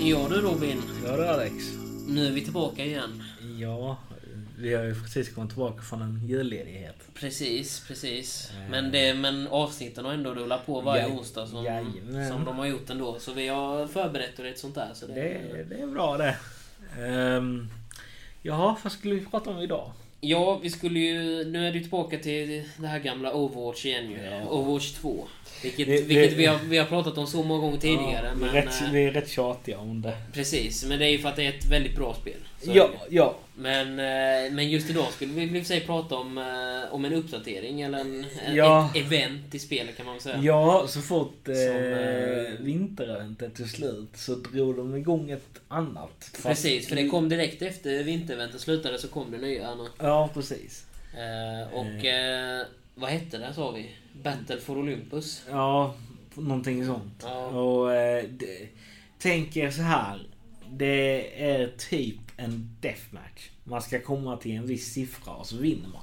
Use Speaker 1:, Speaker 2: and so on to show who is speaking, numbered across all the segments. Speaker 1: Ja du Robin,
Speaker 2: Ja du Alex.
Speaker 1: nu är vi tillbaka igen.
Speaker 2: Ja, vi har ju precis kommit tillbaka från en julledighet.
Speaker 1: Precis, precis.
Speaker 2: Eh.
Speaker 1: Men, det, men avsnitten har ändå rullat på varje
Speaker 2: Jaj-
Speaker 1: onsdag som,
Speaker 2: jajamän.
Speaker 1: som de har gjort ändå. Så vi har förberett och ett sånt där. Så det,
Speaker 2: Det, det är bra det. Um, jaha, vad skulle vi prata om idag?
Speaker 1: Ja, vi skulle ju... Nu är du tillbaka till det här gamla Overwatch igen ju. Overwatch 2. Vilket,
Speaker 2: Det- det-
Speaker 1: vilket vi, har, vi har pratat om så många gånger tidigare.
Speaker 2: Ja, vi,
Speaker 1: men,
Speaker 2: är rätt,
Speaker 1: eh,
Speaker 2: vi är rätt tjatiga om det.
Speaker 1: Precis, men det är ju för att det är ett väldigt bra spel. Så är
Speaker 2: Ja,
Speaker 1: det ju.
Speaker 2: ja.
Speaker 1: Men, eh, men just idag skulle vi i och för sig prata om, eh, om en uppdatering eller en, en,
Speaker 2: Ja.
Speaker 1: ett event i spelet kan man väl säga.
Speaker 2: Ja, så fort eh,
Speaker 1: Som, eh,
Speaker 2: vintereventet tog slut så drog de igång ett annat. Fast-
Speaker 1: Precis, för det kom direkt efter vintereventet slutade så kom det nya. Anna.
Speaker 2: Ja, precis.
Speaker 1: Eh, och
Speaker 2: Mm.
Speaker 1: eh, vad hette det sa vi? Battle for Olympus.
Speaker 2: Ja, någonting sånt.
Speaker 1: Ja.
Speaker 2: Och eh, det, tänk er så här. Det är typ en deathmatch. Man ska komma till en viss siffra och så vinner man.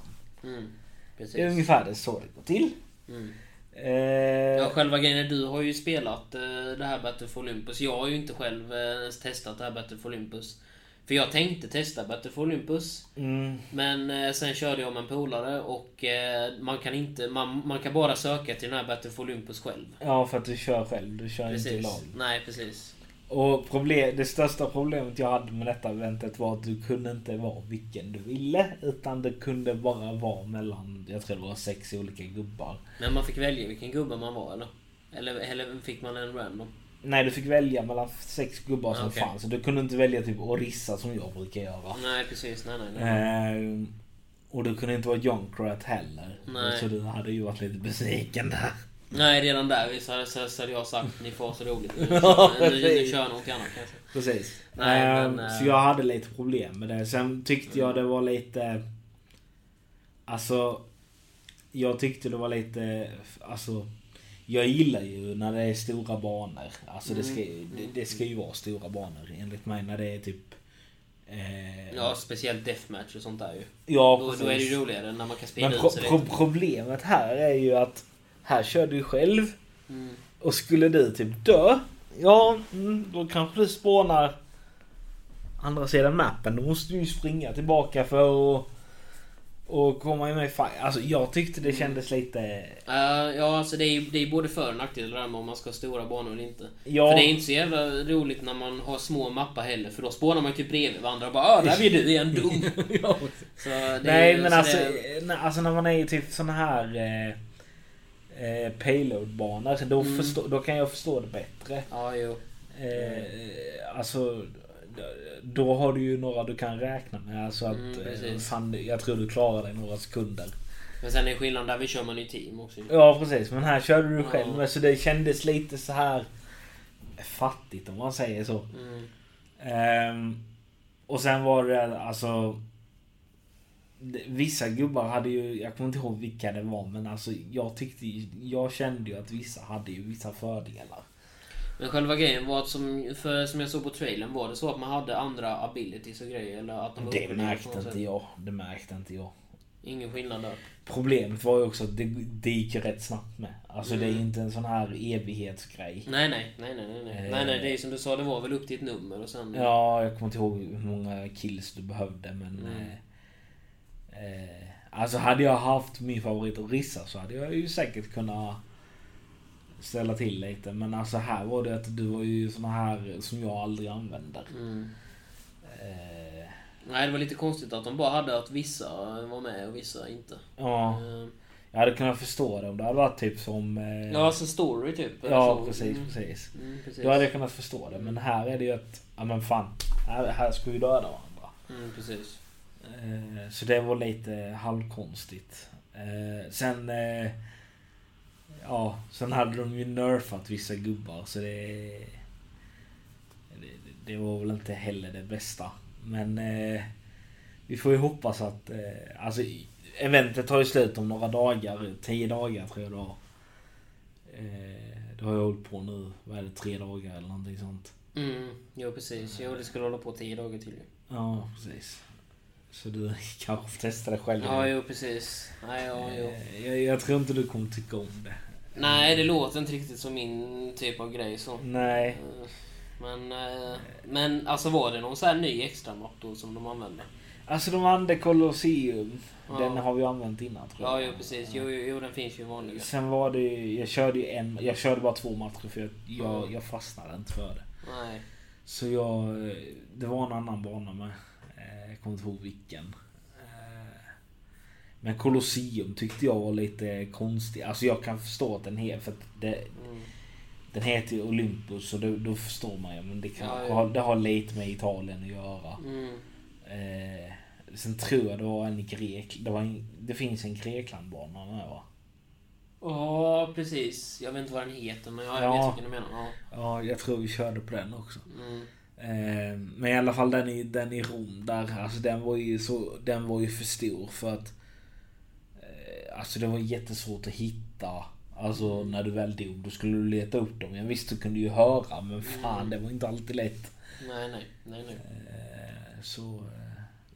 Speaker 1: Mm,
Speaker 2: Det är
Speaker 1: precis.
Speaker 2: ungefär det så det går till.
Speaker 1: Mm.
Speaker 2: Eh,
Speaker 1: Ja, själva grejen är du har ju spelat eh, det här Battle for Olympus. Jag har ju inte själv eh, ens testat det här Battle for Olympus. För jag tänkte testa Battle for Olympus.
Speaker 2: mm,
Speaker 1: Men eh, sen körde jag med en polare och eh, man kan inte, man, man kan bara söka till den här Battle for Olympus själv.
Speaker 2: ja, för att du kör själv. Du kör inte i
Speaker 1: Precis.
Speaker 2: lag.
Speaker 1: Nej, precis.
Speaker 2: Och problem, det största problemet jag hade med detta eventet var att du kunde inte vara vilken du ville. Utan du kunde bara vara mellan, jag tror det var sex olika gubbar.
Speaker 1: Men man fick välja vilken gubbe man var eller? Eller, eller fick man en random?
Speaker 2: Nej, du fick välja mellan sex gubbar som
Speaker 1: Okej.
Speaker 2: fanns. Så du kunde inte välja typ Orissa som jag brukar göra.
Speaker 1: Nej, precis. Nej, nej, nej.
Speaker 2: Ehm, och du kunde inte vara Junkrat heller.
Speaker 1: Nej.
Speaker 2: Så du hade ju varit lite besviken där.
Speaker 1: Nej, redan där så, så, så hade jag sagt ni får ha så roligt nu.
Speaker 2: Ja,
Speaker 1: Så, nu, nu
Speaker 2: precis.
Speaker 1: kör jag något annat kanske.
Speaker 2: Precis.
Speaker 1: Nej,
Speaker 2: Ehm,
Speaker 1: men, eh,
Speaker 2: Så jag hade lite problem med det. Sen tyckte jag det var lite... Alltså... Jag tyckte det var lite... Alltså... Jag gillar ju när det är stora banor. Alltså det ska,
Speaker 1: Mm.
Speaker 2: ju- det, det ska ju vara stora banor enligt mig när det är typ... eh,
Speaker 1: Ja, speciellt deathmatch och sånt där ju.
Speaker 2: ja,
Speaker 1: Då,
Speaker 2: precis.
Speaker 1: då är det ju roligare när man kan sprida
Speaker 2: Men
Speaker 1: ut
Speaker 2: pro-
Speaker 1: sig
Speaker 2: pro-
Speaker 1: lite.
Speaker 2: problemet här är ju att här kör du själv
Speaker 1: Mm.
Speaker 2: och skulle du typ dö, ja mm, då kanske du spånar andra sidan mappen. Då måste du ju springa tillbaka för att och komma med i fight. Alltså jag tyckte
Speaker 1: Mm.
Speaker 2: det kändes lite...
Speaker 1: Eh, ja, alltså det är ju det är ju både för och nackdelar där med om man ska ha stora banor eller inte.
Speaker 2: Ja,
Speaker 1: För det är inte så jävla roligt när man har små mappar heller, för då spånar man ju typ bredvid varandra och bara "Ah, där är du igen, dum!”
Speaker 2: ja.
Speaker 1: så det är
Speaker 2: Nej
Speaker 1: ju-
Speaker 2: men
Speaker 1: så
Speaker 2: alltså,
Speaker 1: det-
Speaker 2: nej, alltså när man är i typ såna här eh, eh, payload-banor då,
Speaker 1: Mm.
Speaker 2: förstå, då kan jag förstå det bättre.
Speaker 1: Ja, jo.
Speaker 2: Eh, alltså, då har du ju några du kan räkna med. Alltså att,
Speaker 1: Mm, precis.
Speaker 2: eh, fan, jag tror du klarar dig några sekunder.
Speaker 1: Men sen är skillnaden där, vi kör man ju team också. ju.
Speaker 2: Ja precis, men här körde du själv
Speaker 1: Ja.
Speaker 2: med så det kändes lite så här fattigt om man säger så.
Speaker 1: Mm.
Speaker 2: Ehm, och sen var det alltså... det- Vissa gubbar hade ju, jag kommer inte ihåg vilka det var men alltså jag tyckte ju- jag kände ju att vissa hade ju vissa fördelar.
Speaker 1: Men själva grejen var att som, för, som jag såg på trailern var det så att man hade andra abilities och grejer. Eller att de var
Speaker 2: Det
Speaker 1: uppgraderade på
Speaker 2: märkte
Speaker 1: något
Speaker 2: inte
Speaker 1: sätt.
Speaker 2: jag. Det märkte inte jag.
Speaker 1: Ingen skillnad där.
Speaker 2: Problemet var ju också att det, det gick ju rätt snabbt med. Alltså det är
Speaker 1: Mm.
Speaker 2: ju inte en sån här evighetsgrej.
Speaker 1: Nej, nej, nej, nej, nej. Nej,
Speaker 2: Eh.
Speaker 1: nej, nej det är ju som du sa, det var väl upp till ett nummer och sen...
Speaker 2: Ja, jag kommer inte ihåg hur många kills du behövde men...
Speaker 1: Mm.
Speaker 2: Eh, eh, alltså hade jag haft min favorit Orissa så hade jag ju säkert kunnat ställa till lite. Men alltså här var det att du var ju såna här som jag aldrig använder.
Speaker 1: Mm.
Speaker 2: Eh,
Speaker 1: Nej, det var lite konstigt att de bara hade att vissa var med och vissa inte.
Speaker 2: ja,
Speaker 1: Eh,
Speaker 2: jag hade kunnat förstå det om det hade varit typ som... Eh,
Speaker 1: Ja, alltså story typ.
Speaker 2: ja
Speaker 1: Så-
Speaker 2: precis,
Speaker 1: Mm.
Speaker 2: precis.
Speaker 1: Mm, precis.
Speaker 2: Då hade jag kunnat förstå det. Men här är det ju att, ja men fan, här, här ska vi döda varandra.
Speaker 1: Mm, precis.
Speaker 2: Eh, så det var lite halvkonstigt. Eh, sen, eh, ja, sen hade de ju nerfat vissa gubbar så det, det, det var väl inte heller det bästa. Men eh, vi får ju hoppas att, eh, alltså eventet tar ju slut om några dagar, tio dagar tror jag det var. Eh, det har jag hållit på nu, vad är det, tre dagar eller någonting sånt.
Speaker 1: Mm, jo precis. Jo, det skulle hålla på tio dagar till ju.
Speaker 2: Ja, precis. Så du kanske får testa det själv.
Speaker 1: Ja, jo precis. Nej, ja, jo.
Speaker 2: Eh, jag, jag tror inte du kommer tycka om det.
Speaker 1: Nej, det låter inte riktigt som min typ av grej så.
Speaker 2: Nej.
Speaker 1: Eh, Men, eh, men alltså var det någon så här ny extra motor som de använde?
Speaker 2: Alltså de hade Colosseum.
Speaker 1: Ja.
Speaker 2: Den har vi använt innan tror
Speaker 1: Ja,
Speaker 2: jag.
Speaker 1: jo precis. Jo, jo, jo den finns ju vanligen.
Speaker 2: Sen var det ju- jag körde ju en, jag körde bara två matcher för jag, jag,
Speaker 1: Mm.
Speaker 2: jag fastnade inte för det.
Speaker 1: Nej.
Speaker 2: Så jag, eh, det var en annan bana med. Eh, Jag kommer inte ihåg vilken. Eh, Men Colosseum tyckte jag var lite konstig. Alltså jag kan förstå att den heter, för att det,
Speaker 1: Mm.
Speaker 2: den heter ju Olympus och då, då förstår man ju. Men det, kan,
Speaker 1: Ja,
Speaker 2: ja,
Speaker 1: ja.
Speaker 2: det har lite med Italien att göra.
Speaker 1: Mm.
Speaker 2: Eh, sen tror jag det var en grek... Det, var en, det finns en Greklandbana med va?
Speaker 1: Ja, precis. Jag vet inte vad den heter, men jag
Speaker 2: Ja.
Speaker 1: vet vilken du menar. Ja.
Speaker 2: Ja, jag tror vi körde på den också.
Speaker 1: Mm.
Speaker 2: Eh, men i alla fall den i, den i Rom där, alltså den var ju, så, den var ju för stor för att... Eh, alltså det var jättesvårt att hitta. Alltså när du väl dog, då skulle du leta upp dem. Jag visste du kunde ju höra, men fan det var inte alltid lätt.
Speaker 1: Nej, nej, nej, nej.
Speaker 2: Eh, så... Eh,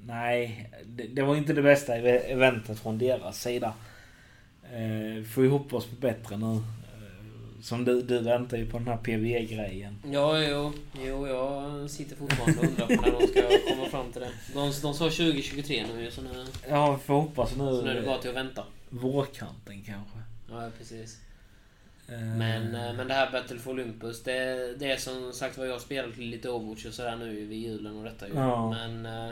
Speaker 2: nej, det, det var inte det bästa ev- eventet från deras sida. Eh, får ju hoppas på bättre nu. Eh, som du, du väntar ju på den här PVE-grejen.
Speaker 1: Ja, jo, jo, jag sitter fortfarande och undrar på när de ska komma fram till det. De, de sa 2023 nu ju, så nu,
Speaker 2: Ja, vi får hoppas nu. eh,
Speaker 1: så nu är det bara till att vänta.
Speaker 2: Vårkanten kanske.
Speaker 1: Ja, precis.
Speaker 2: Eh,
Speaker 1: Men, eh, men det här Battle for Olympus, det, det är som sagt vad jag har spelat lite Overwatch och sådär nu vid julen och detta ju.
Speaker 2: Ja.
Speaker 1: Men, eh,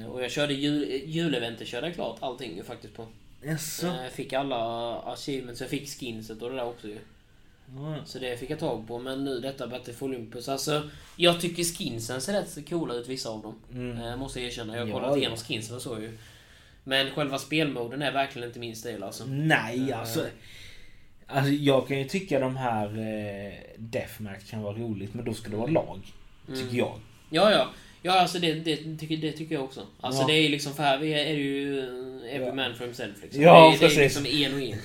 Speaker 1: eh, och jag körde jul, juleventet körde jag klart allting ju faktiskt på. Eh,
Speaker 2: Jaså?
Speaker 1: Jag fick alla achievements, jag fick skinset och det där också ju.
Speaker 2: Ja.
Speaker 1: Så det fick jag tag på. Men nu detta Battle for Olympus, alltså. Jag tycker skinsen ser rätt så coola ut vissa av dem.
Speaker 2: Mm.
Speaker 1: Eh, måste jag erkänna. Jag har
Speaker 2: Ja,
Speaker 1: kollat
Speaker 2: ja.
Speaker 1: igenom skinsen och så ju. Men själva spelmoden är verkligen inte min stil alltså.
Speaker 2: Nej, alltså. Alltså jag kan ju tycka de här eh, Deathmatch kan vara roligt men då ska det vara lag.
Speaker 1: Mm.
Speaker 2: Tycker jag.
Speaker 1: Ja, ja. Ja, alltså det, det, tycker, det tycker jag också. Alltså
Speaker 2: Ja.
Speaker 1: det är ju liksom, för här är, är det ju eh, every
Speaker 2: Ja.
Speaker 1: man for himself liksom.
Speaker 2: Ja,
Speaker 1: det, är- det är
Speaker 2: precis.
Speaker 1: ju liksom en och en.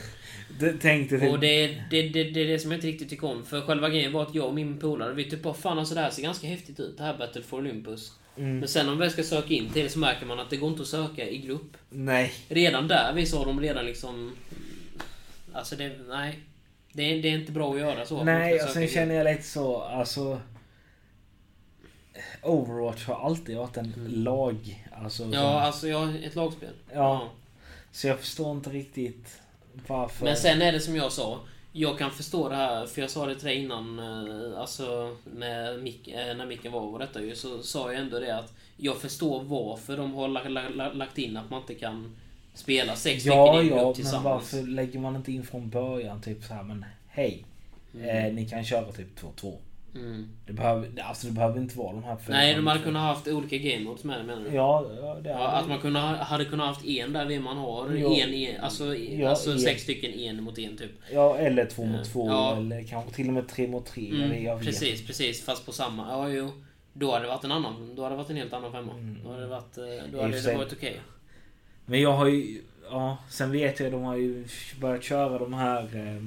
Speaker 2: Det, tänkte
Speaker 1: Och det, det, det, det är det som jag inte riktigt tycker om. För själva grejen var att jag och min polare, vi typ bara fan alltså det här ser ganska häftigt ut. Det här Battle for Olympus.
Speaker 2: Mm.
Speaker 1: Men sen om vi väl ska söka in till det så märker man att det går inte att söka i grupp.
Speaker 2: Nej.
Speaker 1: Redan där, vi sa de redan liksom... Alltså det, nej. Det är, det är inte bra att göra så. att man
Speaker 2: Nej,
Speaker 1: ska söka
Speaker 2: och
Speaker 1: i
Speaker 2: sen
Speaker 1: grupp.
Speaker 2: känner jag lite så, alltså... Overwatch har alltid varit en lag. Alltså,
Speaker 1: Ja, alltså jag, ett lagspel.
Speaker 2: ja. Så jag förstår inte riktigt varför.
Speaker 1: Men sen är det som jag sa. Jag kan förstå det här, för jag sa det till dig innan, eh, alltså med mic, eh, när micken var och detta ju, så sa jag ändå det att jag förstår varför de har la- la- la- lagt in att man inte kan spela sex
Speaker 2: ja,
Speaker 1: stycken i en
Speaker 2: ja,
Speaker 1: grupp
Speaker 2: men
Speaker 1: tillsammans.
Speaker 2: varför lägger man inte in från början typ så här, men hej. Eh, ni kan köra typ 2-2.
Speaker 1: Mm.
Speaker 2: Det behöver, alltså det behöver inte vara de här fyra.
Speaker 1: Nej, de hade kunnat haft olika game modes med det menar du?
Speaker 2: Ja, ja, det är
Speaker 1: Ja, att man kunde, ha- hade kunnat haft en där vid man har
Speaker 2: Ja.
Speaker 1: en, en alltså, i-
Speaker 2: Ja,
Speaker 1: alltså
Speaker 2: en.
Speaker 1: sex stycken en mot en typ.
Speaker 2: ja, eller två mot två.
Speaker 1: Eh, Ja.
Speaker 2: Eller kanske till och med tre mot tre. eller jag
Speaker 1: Mm,
Speaker 2: vet.
Speaker 1: precis, precis. Fast på samma. Ja, jo. Då hade det varit en annan. Då hade det varit en helt annan femma. Då hade det varit, eh, då
Speaker 2: Mm. och
Speaker 1: hade
Speaker 2: för
Speaker 1: det
Speaker 2: sig.
Speaker 1: varit okej.
Speaker 2: Men jag har ju... Ja, sen vet jag de har ju börjat köra de här eh,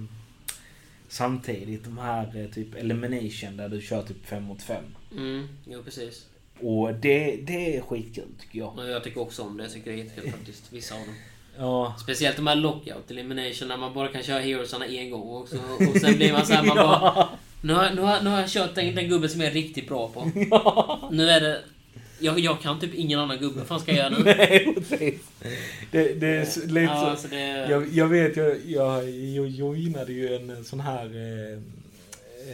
Speaker 2: samtidigt. De här eh, typ elimination där du kör typ fem mot fem.
Speaker 1: Mm, jo precis.
Speaker 2: Och det, det är skitkul tycker jag.
Speaker 1: Och jag tycker också om det. Jag tycker det är jättekul faktiskt. Vissa av dem.
Speaker 2: Ja,
Speaker 1: Speciellt de här lockout elimination när man bara kan köra heroesarna en gång och, så, och sen blir man såhär, man bara... Nu har, nu, har, nu har jag kört den, den gubben som jag är riktigt bra på. Nu är det... Jag, jag kan typ ingen annan gubbe. Vad fan ska jag göra nu?
Speaker 2: Nej, precis. Det, det är så- lite
Speaker 1: Ja,
Speaker 2: så.
Speaker 1: alltså det...
Speaker 2: Liksom. Jag, jag vet, jag, jag, jag joinade ju en sån här eh,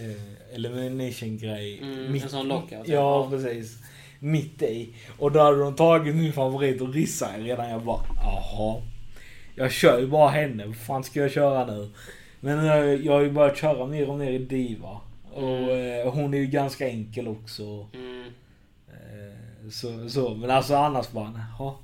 Speaker 2: eh, elimination-grej.
Speaker 1: Mm, en sån lockout.
Speaker 2: Ja, precis. Mitt i. Och då hade de tagit min favorit och rissat redan. Jag bara, jaha. Jag kör ju bara henne. Vad fan ska jag köra nu? Men nu har jag, jag har ju börjat köra mer och mer i Diva. Och eh, hon är ju ganska enkel också.
Speaker 1: Mm,
Speaker 2: Eh, så, så. Men alltså annars bara, jaha.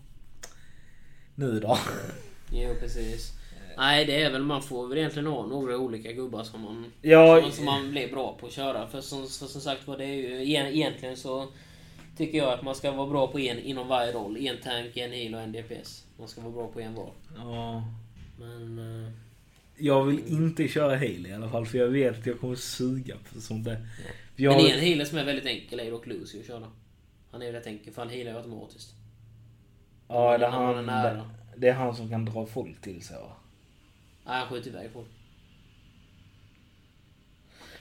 Speaker 2: Nu då?
Speaker 1: jo precis. Nej det är väl, man får väl egentligen ha några olika gubbar som man
Speaker 2: Ja,
Speaker 1: som, som man blir bra på att köra. För som, för som sagt var, det är ju e- egentligen så tycker jag att man ska vara bra på en inom varje roll. En tank, en heal och en DPS. Man ska vara bra på en var.
Speaker 2: ja.
Speaker 1: Men... eh,
Speaker 2: Jag vill inte köra heal i alla fall för jag vet att jag kommer suga på sånt där. Jag,
Speaker 1: Men en healer som är väldigt enkel är ju dock Lucy att köra. Han är ju rätt enkel för han healar ju automatiskt.
Speaker 2: ja, det, är
Speaker 1: när man är
Speaker 2: han,
Speaker 1: nära.
Speaker 2: det är han som kan dra folk till sig va?
Speaker 1: Nej, han skjuter iväg folk.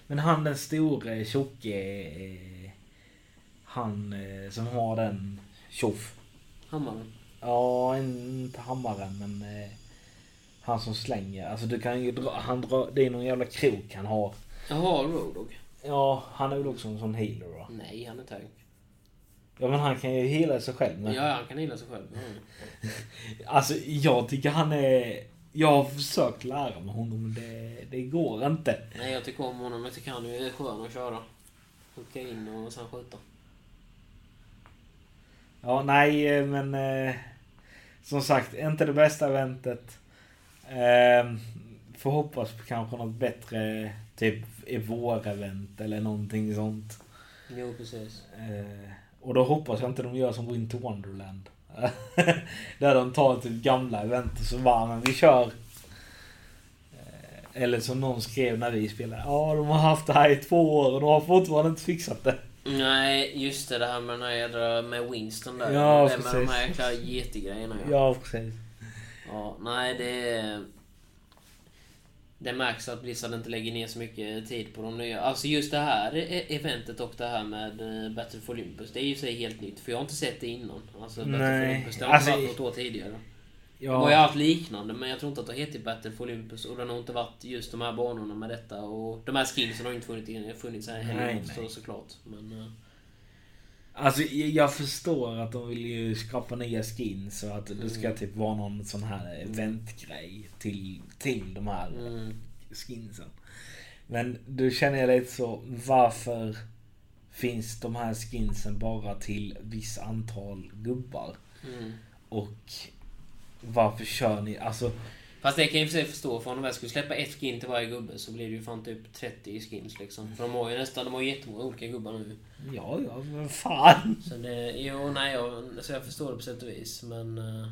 Speaker 2: Men han den store tjocke... eh, Han eh, som har den... Tjoff.
Speaker 1: Hammaren.
Speaker 2: Ja, inte hammaren men... eh, Han som slänger. Alltså du kan ju dra... Han dra det är någon jävla krok han har.
Speaker 1: Jaha, Roadhog.
Speaker 2: Ja, han är väl också en sån healer va?
Speaker 1: Nej, han är inte hög.
Speaker 2: Ja men han kan ju heala sig själv. Men...
Speaker 1: Ja, han kan gilla sig själv. Mm.
Speaker 2: Alltså jag tycker han är... Jag har försökt lära mig honom men det, det går inte.
Speaker 1: Nej, jag tycker om honom. Jag tycker han är skön att köra. Hooka in och sen skjuta.
Speaker 2: Ja, nej, eh, men eh, som sagt, inte det bästa eventet. Eh, får hoppas på kanske något bättre, typ i vår event eller någonting sånt.
Speaker 1: Jo, precis.
Speaker 2: Eh, och då hoppas jag inte de gör som Winter Wonderland. Där de tar typ gamla event och så bara, men vi kör. Eh, Eller som någon skrev när vi spelade. Ja, de har haft det här i två år och de har fortfarande inte fixat det.
Speaker 1: Nej, just det. Det här med den här jädra med Winston där.
Speaker 2: Ja,
Speaker 1: det med de här
Speaker 2: precis.
Speaker 1: jäkla getigrejerna. Ja.
Speaker 2: Ja, precis.
Speaker 1: Ja, nej det... är- Det märks att Blizzard inte lägger ner så mycket tid på de nya. Alltså just det här e- eventet och det här med eh, Battle for Olympus. Det är ju i sig helt nytt. För jag har inte sett det innan. Alltså Battle
Speaker 2: Nej.
Speaker 1: for Olympus. Det har
Speaker 2: Alltså,
Speaker 1: inte varit något år tidigare.
Speaker 2: Ja.
Speaker 1: Det har ju haft liknande men jag tror inte att det heter Battle for Olympus. Och den har inte varit just de här banorna med detta. Och de här skinsen har ju inte funnits, funnits här
Speaker 2: Nej,
Speaker 1: heller
Speaker 2: nej.
Speaker 1: så, såklart. Men, eh,
Speaker 2: Alltså jag jag förstår att de vill ju skapa nya skins och att det ska typ vara någon sån här eventgrej till, till de här
Speaker 1: mm,
Speaker 2: skinsen. Men då känner jag lite så, varför finns de här skinsen bara till viss antal gubbar?
Speaker 1: mm.
Speaker 2: Och varför kör ni, alltså
Speaker 1: Fast det kan jag i och för sig förstå, för om de väl skulle släppa ett skin till varje gubbe så blir det ju fan typ 30 skins liksom. För de har ju nästan, de har ju jättemånga olika gubbar nu.
Speaker 2: ja ja, men fan.
Speaker 1: Så det, jo, nej, jag, så jag förstår det på sätt och vis, men... eh,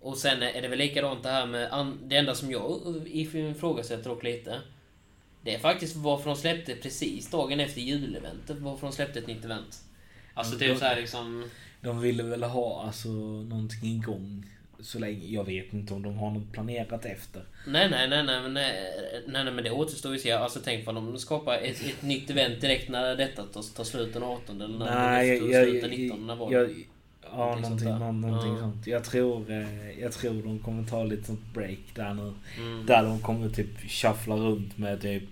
Speaker 1: Och sen är det väl likadant det här med, an- det enda som jag ifrågasätter dock lite. Det är faktiskt varför de släppte precis dagen efter juleventet, varför de släppte ett nytt event. Alltså typ såhär liksom...
Speaker 2: De ville väl ha alltså någonting igång så länge, jag vet inte om de har något planerat efter.
Speaker 1: Nej, nej, nej, nej, men nej, nej, nej, men det återstår ju att se. Alltså tänk om de skapar ett, ett nytt event direkt när detta tar, tar slut den 18 eller när
Speaker 2: Nej,
Speaker 1: det
Speaker 2: jag...
Speaker 1: tog
Speaker 2: jag,
Speaker 1: slut
Speaker 2: jag,
Speaker 1: den 19 när var
Speaker 2: jag
Speaker 1: det?
Speaker 2: ja,
Speaker 1: Någonting
Speaker 2: någonting,
Speaker 1: sånt där.
Speaker 2: någon, någonting
Speaker 1: Ja.
Speaker 2: sånt. Jag tror, eh, jag tror de kommer ta lite sånt break där nu.
Speaker 1: Mm.
Speaker 2: Där de kommer typ shuffla runt med typ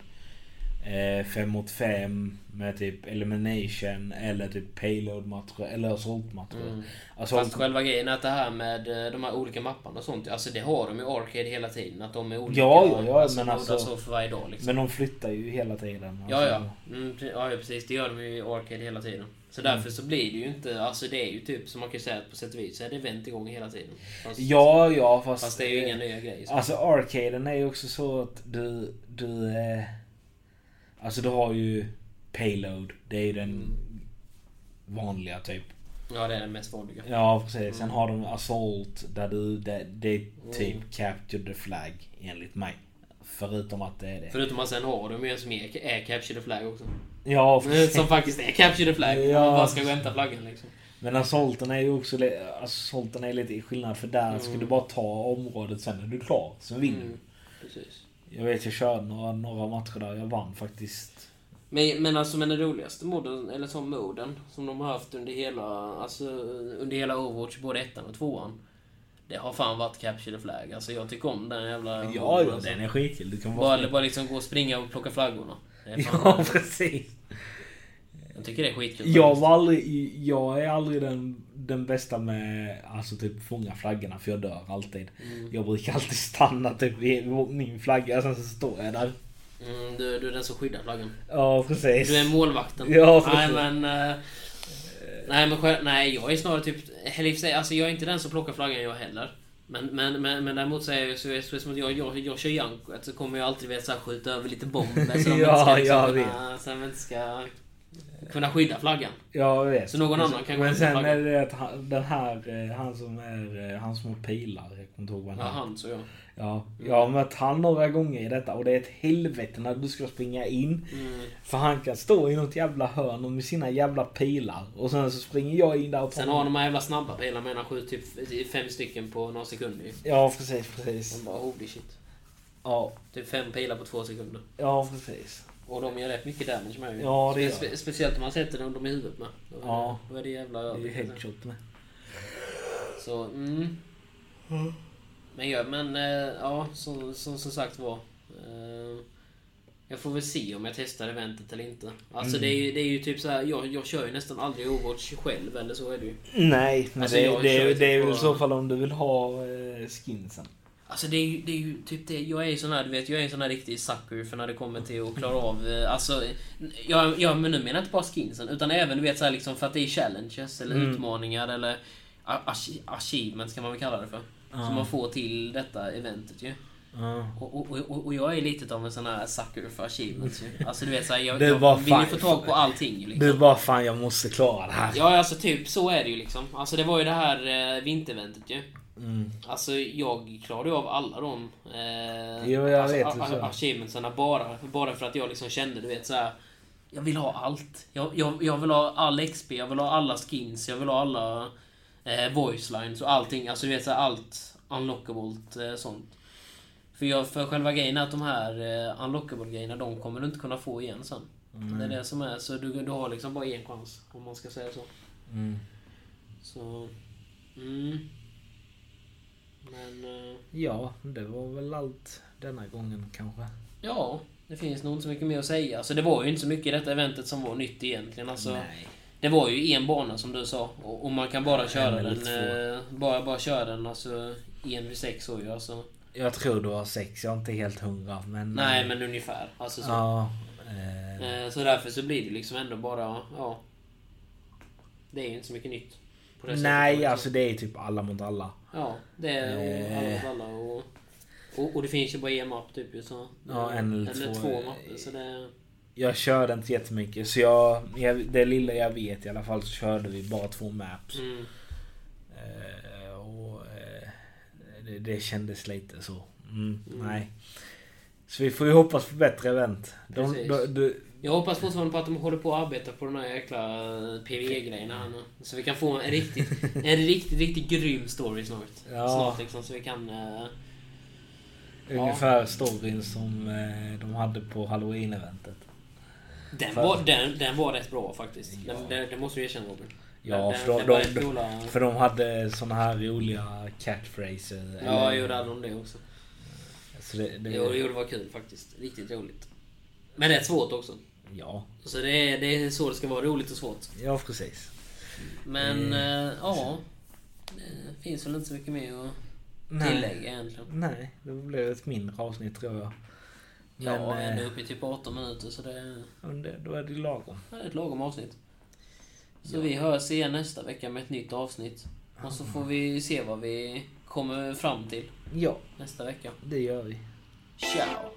Speaker 2: 5 mot 5 med typ elimination eller typ payload matcher eller assault matcher.
Speaker 1: Mm.
Speaker 2: Alltså,
Speaker 1: Fast själva grejen är att det här med eh, de här olika mapparna och sånt, alltså det har de ju i Arcade hela tiden. Att de är olika.
Speaker 2: Ja, ja, ja, men
Speaker 1: de
Speaker 2: alltså-
Speaker 1: odlar så för varje dag liksom.
Speaker 2: men de flyttar ju hela tiden.
Speaker 1: Ja,
Speaker 2: alltså. Mm.
Speaker 1: ja. Mm, pre- ja, ja, precis. Det gör de ju i Arcade hela tiden. Så därför så blir det ju inte, alltså det är ju typ som man kan säga att på sätt och vis så är det event igång hela tiden. Fast,
Speaker 2: Ja, ja, fast...
Speaker 1: fast det är ju inga nya grejer. så.
Speaker 2: Alltså arcaden är ju också så att du... du eh, alltså du har ju payload. Det är ju den
Speaker 1: Mm.
Speaker 2: vanliga typ.
Speaker 1: Ja, det är den mest vanliga.
Speaker 2: Ja precis. Sen har de assault där du... Det, det är typ
Speaker 1: Mm.
Speaker 2: capture the flag enligt mig. Förutom att det är det.
Speaker 1: Förutom att sen har de ju en som är, är Capture the Flag också.
Speaker 2: Ja
Speaker 1: Eh,
Speaker 2: precis.
Speaker 1: Som faktiskt är Capture the Flag.
Speaker 2: Ja.
Speaker 1: Ja. Man bara ska gå och hämta flaggan liksom.
Speaker 2: Men assaulten är ju också... li- Assaulten är lite skillnad för där ska
Speaker 1: Mm.
Speaker 2: du bara ta området sen när du är klar. Sen vinner du.
Speaker 1: Mm, Precis.
Speaker 2: Jag vet jag körde några, några matcher där jag vann faktiskt.
Speaker 1: Men, men alltså men den roligaste moden, eller som moden, som de har haft under hela, alltså, under hela Overwatch, både ettan och tvåan. Det har fan varit Capture the Flag. Alltså jag tycker om den jävla
Speaker 2: Ja,
Speaker 1: moden,
Speaker 2: ja
Speaker 1: alltså.
Speaker 2: den är skitkul. Du kan bara...
Speaker 1: bara, bara liksom gå och springa och plocka flaggorna. Det är fan,
Speaker 2: Ja, precis.
Speaker 1: Jag tycker det är skitkul.
Speaker 2: Jag
Speaker 1: faktiskt.
Speaker 2: var aldrig, jag är aldrig den, den bästa med alltså typ fånga flaggorna för jag dör alltid.
Speaker 1: Mm.
Speaker 2: Jag brukar alltid stanna typ vid min flagga sen så står jag där.
Speaker 1: Mm, du, du är den som skyddar flaggan.
Speaker 2: Ja precis.
Speaker 1: Du är målvakten.
Speaker 2: Ja,
Speaker 1: nej
Speaker 2: precis.
Speaker 1: men... eh, nej men själv, nej jag är snarare typ... eller i och för sig, Alltså jag är inte den som plockar flaggan jag heller. Men, men, men, men däremot så är jag så, så, som att jag, jag, jag kör Jankoet så kommer jag alltid vet, så här, skjuta över lite bomber så de
Speaker 2: Ja,
Speaker 1: inte ska,
Speaker 2: jag
Speaker 1: liksom, kunna, så de inte ska kunna skydda flaggan.
Speaker 2: Ja, jag vet.
Speaker 1: Så någon annan kan gå
Speaker 2: Men
Speaker 1: med
Speaker 2: sen
Speaker 1: flaggan.
Speaker 2: är det att han, den här, eh, han som är, eh, han som har pilar, jag kommer inte ihåg vad
Speaker 1: Ja,
Speaker 2: han heter.
Speaker 1: han så jag.
Speaker 2: Ja, jag har mött han några gånger i detta och det är ett helvete när du ska springa in.
Speaker 1: Mm.
Speaker 2: För han kan stå i något jävla hörn och med sina jävla pilar och sen så springer jag in där och tar
Speaker 1: Sen har de här jävla snabba pilarna med han skjuter typ fem stycken på några sekunder ju.
Speaker 2: Ja, precis, precis.
Speaker 1: Man bara holy shit.
Speaker 2: Ja,
Speaker 1: Typ fem pilar på två sekunder.
Speaker 2: ja precis.
Speaker 1: Och de gör rätt mycket damage med ju.
Speaker 2: Ja, det gör
Speaker 1: Spe- spe- Speciellt om man sätter dem dem i huvudet med. Då är det-
Speaker 2: Ja.
Speaker 1: Då är det jävla
Speaker 2: Det är ju
Speaker 1: övrigt, alltså.
Speaker 2: headshot med.
Speaker 1: Så, mm. Men, ja, men eh, ja, som, som, som sagt var. Eh, jag får väl se om jag testar eventet eller inte. Alltså det, är,
Speaker 2: Mm.
Speaker 1: ju- det är ju typ så här, jag, jag kör ju nästan aldrig Overwatch själv eller så är det ju.
Speaker 2: Nej, men
Speaker 1: Alltså,
Speaker 2: det,
Speaker 1: jag
Speaker 2: det,
Speaker 1: kör
Speaker 2: det,
Speaker 1: ju
Speaker 2: är
Speaker 1: typ
Speaker 2: väl i
Speaker 1: bara-
Speaker 2: så fall om du vill ha eh, skinsen.
Speaker 1: Alltså det är, ju, det är ju typ det, jag är ju sån här, du vet, jag är en sån här riktig sucker för när det kommer till att klara av, eh, alltså, jag, jag men nu menar jag inte bara skinsen, utan även du vet så här liksom för att det är challenges eller
Speaker 2: Mm.
Speaker 1: utmaningar eller a- achi- achievements kan man väl kalla det för.
Speaker 2: Ja.
Speaker 1: Som man får till detta eventet ju. Och, och, och, och jag är lite av en sån här sucker för achievements ju. Alltså du vet såhär, jag,
Speaker 2: Det var
Speaker 1: jag vill ju
Speaker 2: fan-
Speaker 1: få tag på allting ju liksom.
Speaker 2: Du bara fan jag måste klara det här.
Speaker 1: Ja alltså typ så är det ju liksom. Alltså det var ju det här eh, vintereventet ju.
Speaker 2: Mm.
Speaker 1: Alltså jag klarade ju av alla de eh,
Speaker 2: Jo, jag
Speaker 1: alltså,
Speaker 2: vet
Speaker 1: a-
Speaker 2: det, så.
Speaker 1: a- achievementsarna bara, bara för att jag liksom kände du vet så här. Jag vill ha allt. Jag, jag, jag vill ha all XP, jag vill ha alla skins, jag vill ha alla eh, voice lines och allting. Alltså du vet så här, allt unlockable eh, sånt. För, jag, för själva grejen är att de här eh, unlockable grejerna de kommer du inte kunna få igen sen. Det är det som är, så du, du har liksom bara en chans om man ska säga så.
Speaker 2: Mm.
Speaker 1: Så... Mm. Men... eh,
Speaker 2: Ja, det var väl allt denna gången kanske.
Speaker 1: Ja, det finns nog inte så mycket mer att säga. Alltså, det var ju inte så mycket i detta eventet som var nytt egentligen. Alltså,
Speaker 2: Nej.
Speaker 1: det var ju en bana som du sa. Och, och man kan bara köra
Speaker 2: eller
Speaker 1: den... Eh, bara, bara köra den alltså, en vid sex år ju. Alltså.
Speaker 2: Jag tror det var sex, jag är inte helt hundra. Men... eh,
Speaker 1: Nej, men ungefär. Alltså, så.
Speaker 2: Ja. Eh,
Speaker 1: Eh, så därför så blir det liksom ändå bara... Ja. Det är ju inte så mycket nytt. på det sättet,
Speaker 2: nej,
Speaker 1: liksom.
Speaker 2: alltså det är typ alla mot alla.
Speaker 1: Ja, det är och alla mot
Speaker 2: Eh.
Speaker 1: alla och, och, och det finns ju bara en mapp typ ju så.
Speaker 2: Ja, en eller
Speaker 1: eller
Speaker 2: två.
Speaker 1: två mapper så det...
Speaker 2: Jag körde inte jättemycket så jag, jag, det lilla jag vet i alla fall så körde vi bara två maps.
Speaker 1: Mm,
Speaker 2: Eh, och, eh, det, det kändes lite så. Mm, Nej. Så vi får ju hoppas på bättre event. De,
Speaker 1: Precis.
Speaker 2: de, de,
Speaker 1: jag hoppas fortfarande på att de håller på att arbeta på den här jäkla eh, PVE-grejen här nu. Så vi kan få en riktigt, en riktigt, riktigt grym story snart.
Speaker 2: Ja.
Speaker 1: Snart liksom så vi kan... eh, Ja.
Speaker 2: Ungefär storyn som eh, de hade på halloween-eventet.
Speaker 1: den,
Speaker 2: Fan.
Speaker 1: var, den, den var rätt bra faktiskt.
Speaker 2: Ja.
Speaker 1: Den, den, den måste du erkänna Robin.
Speaker 2: Ja,
Speaker 1: den,
Speaker 2: för,
Speaker 1: den
Speaker 2: de,
Speaker 1: var
Speaker 2: de,
Speaker 1: rätt coola.
Speaker 2: för de hade såna här roliga catchphrases.
Speaker 1: Ja, jo det hade de det också.
Speaker 2: Så det, det,
Speaker 1: Jo, jo, det var kul faktiskt. Riktigt roligt. Men rätt svårt också.
Speaker 2: Ja.
Speaker 1: Så det är, det är så det ska vara, roligt och svårt.
Speaker 2: ja, precis. Mm.
Speaker 1: Men eh, ja, det finns väl inte så mycket mer att
Speaker 2: Nej.
Speaker 1: tillägga egentligen.
Speaker 2: Nej, det blev ett mindre avsnitt tror jag. Men,
Speaker 1: ja, vi är
Speaker 2: eh,
Speaker 1: ändå uppe i typ 18 minuter så det är
Speaker 2: men det, då är det lagom.
Speaker 1: det är ett lagom avsnitt. Så vi hörs igen nästa vecka med ett nytt avsnitt. Och så får vi se vad vi kommer fram till
Speaker 2: Ja,
Speaker 1: nästa vecka.
Speaker 2: det gör vi.
Speaker 1: Ciao!